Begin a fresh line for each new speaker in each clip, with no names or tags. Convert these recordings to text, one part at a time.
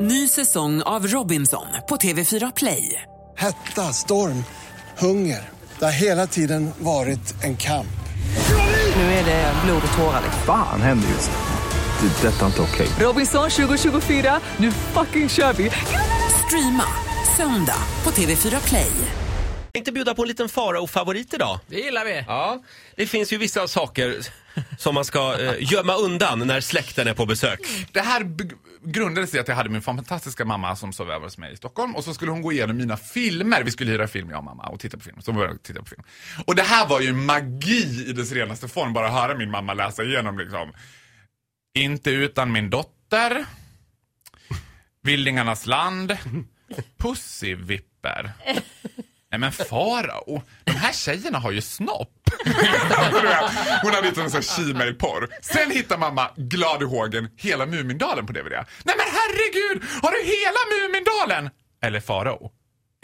Ny säsong av Robinson på TV4 Play.
Hetta, storm, hunger. Det har hela tiden varit en kamp.
Nu är det blod och tårar. liksom.
Fan händer just nu. Det. är Detta är inte okej.
Robinson 2024, nu fucking kör vi! Streama söndag på TV4 Play.
tänkte bjuda på en liten Farao-favorit idag.
Det gillar vi.
Ja, det finns ju vissa saker som man ska eh, gömma undan när släkten är på besök.
Det här b- grundades i att jag hade min fantastiska mamma som sov över hos mig i Stockholm och så skulle hon gå igenom mina filmer. Vi skulle hyra film jag och mamma och titta på film. Så började jag titta på film. Och det här var ju magi i dess renaste form, bara höra min mamma läsa igenom liksom. Inte utan min dotter. Vildingarnas land. Pussyvipper. Nej men farao, de här tjejerna har ju snopp. Du vet, Hon hade hittat en sån här Gmail-porr. Sen hittar mamma, glad i hågen, hela Mumindalen på DVD. Nej men herregud, har du hela Mumindalen? Eller farao?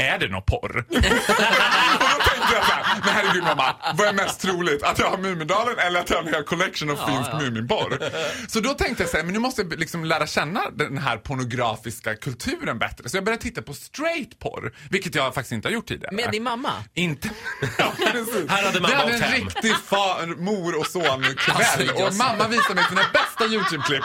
Är det någon porr? och då tänkte jag såhär, men herregud mamma, vad är mest troligt? Att jag har Mumindalen eller att jag har en hel collection av finsk Muminporr? Så då tänkte jag såhär, men nu måste jag liksom lära känna den här pornografiska kulturen bättre. Så jag började titta på straight porr, vilket jag faktiskt inte har gjort tidigare.
Med din mamma.
Inte... Ja, precis.
Här hade mamma
Vi
åkt
hade en
hem.
riktig fa- mor och son-kväll
Alltså, jag
och mamma visade mig sina bästa YouTube-klipp.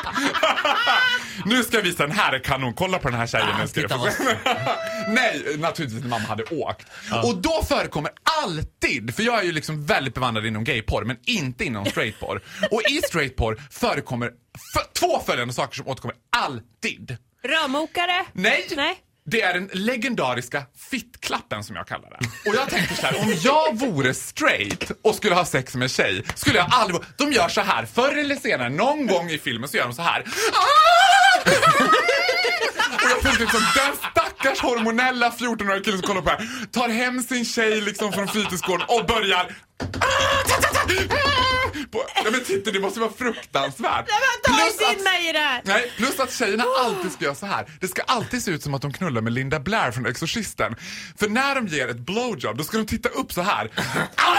nu ska jag visa den här kanon. Kolla på den här tjejen. nu ska du
titta
få se. Nej, naturligtvis när mamma hade åkt. Och då förekommer alltid, för jag är ju liksom väldigt bevandrad inom gayporr men inte inom straightporr. och i straightporr förekommer f- två följande saker som återkommer alltid.
Rörmokare?
Nej.
Nej.
Det är den legendariska fittklappen som jag kallar den. Och jag tänker så här, om jag vore straight och skulle ha sex med en tjej, skulle jag aldrig... De gör så här, förr eller senare, någon gång i filmen så gör de så här. Och jag tänkte liksom, den stackars hormonella 14-åriga killen som kollar på det här tar hem sin tjej liksom från fritidsgården och börjar... Ah, På, nej men titta, det måste vara fruktansvärt.
Men ta
Plus
inte in
att-
mig i det här!
Nej, plus att tjejerna alltid ska göra så här. Det ska alltid se ut som att de knullar med Linda Blair från Exorcisten. För när de ger ett blowjob, då ska de titta upp så här. Ah!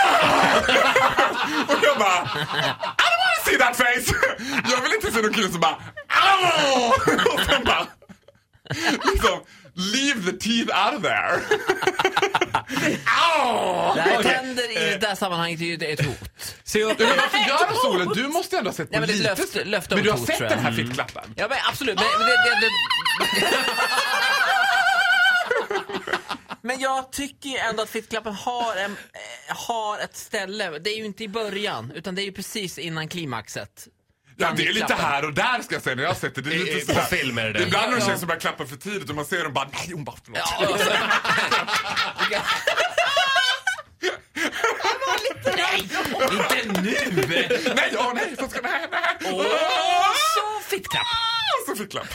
Och jag bara... I don't wanna see that face! Jag vill inte se någon kille som bara... "Au!" Och sen bara... Liksom, leave the teeth out of there. Ah! Au!
Det här tänder i det här sammanhanget är ju det är ett hot.
Se upp.
Du, men varför gör de så Ola? Du måste ju ändå ha sett på
Nej, men det är ett
lite...
löfte- löfte om
men du har
ett hot,
sett
tror
den
jag. Mm.
här fittklappen?
Ja men absolut. Men, men, det, det, det... men jag tycker ju ändå att fittklappen har, en, eh, har ett ställe. Det är ju inte i början utan det är ju precis innan klimaxet.
Ja, det är lite
Klappen.
här och där ska jag säga när jag har sett det. Det är
I-
lite
på
sådär-
film är det
det
det.
är ibland när
Ja.
tjejer som börjar klappa för tidigt och man ser dem bara nej hon bara förlåt.
Ja, och så-
Inte nu!
Nej, ja, nej, så ska det här hända.
Åh, så fittklapp!
Så fick klapp.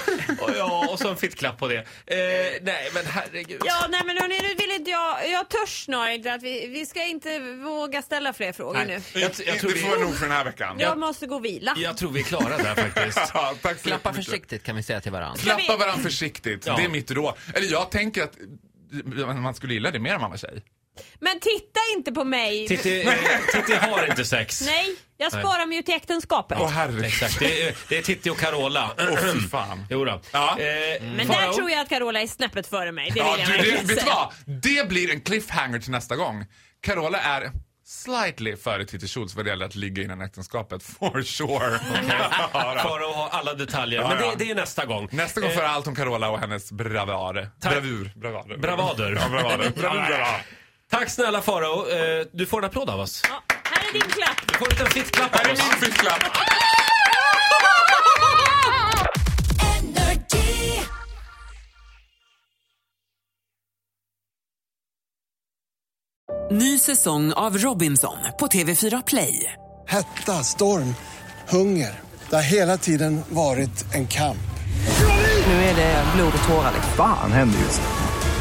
Och, ja, och så en fittklapp på det. Eh, nej, men herregud.
Ja, nej men hörni, nu vill inte jag, jag törs snarare inte att vi, vi ska inte våga ställa fler frågor nu.
Jag, jag, tror
det får vara
vi,
nog för den här veckan.
Jag måste gå och vila.
jag tror vi är klara där faktiskt.
Ja, tack så
Klappa
jättemycket.
försiktigt kan vi säga till varandra.
Ska vi-
Klappa varandra försiktigt.
Ja.
Det är mitt råd. Eller jag tänker att man skulle gilla det mer om man var tjej.
Men titta inte på mig.
Titti, eh, Titti har inte sex.
Nej, jag sparar mig ju till äktenskapet.
Åh herregud.
Exakt, det är, eh, det är Titti och Carola.
Åh fy fan.
Jo då.
Ja.
Eh,
Men där
Farao?
tror jag att Carola är snäppet före mig. Det vill
Ja,
jag
du, det,
verkligen
vet du
säga.
vad? Det blir en cliffhanger till nästa gång. Carola är slightly före Titti Schultz vad det gäller att ligga innan äktenskapet. For sure. Ja, då.
Farao har alla detaljer, men
ja.
det, det är nästa gång.
Nästa gång får jag allt om Carola och hennes bravader.
Eh. Tack.
Bravur. Bravader.
Bravader.
Ja, bravader. Bravur, bravader.
Tack snälla Farao. Eh, du får en applåd av oss.
Ja, här är din klapp.
Du får en liten fittklapp
Här
av
är
oss.
min fiskklapp.
Ny säsong av Robinson på TV4 Play.
Hetta, storm, hunger. Det har hela tiden varit en kamp.
Nu är det blod och tårar.
Fan händer just nu.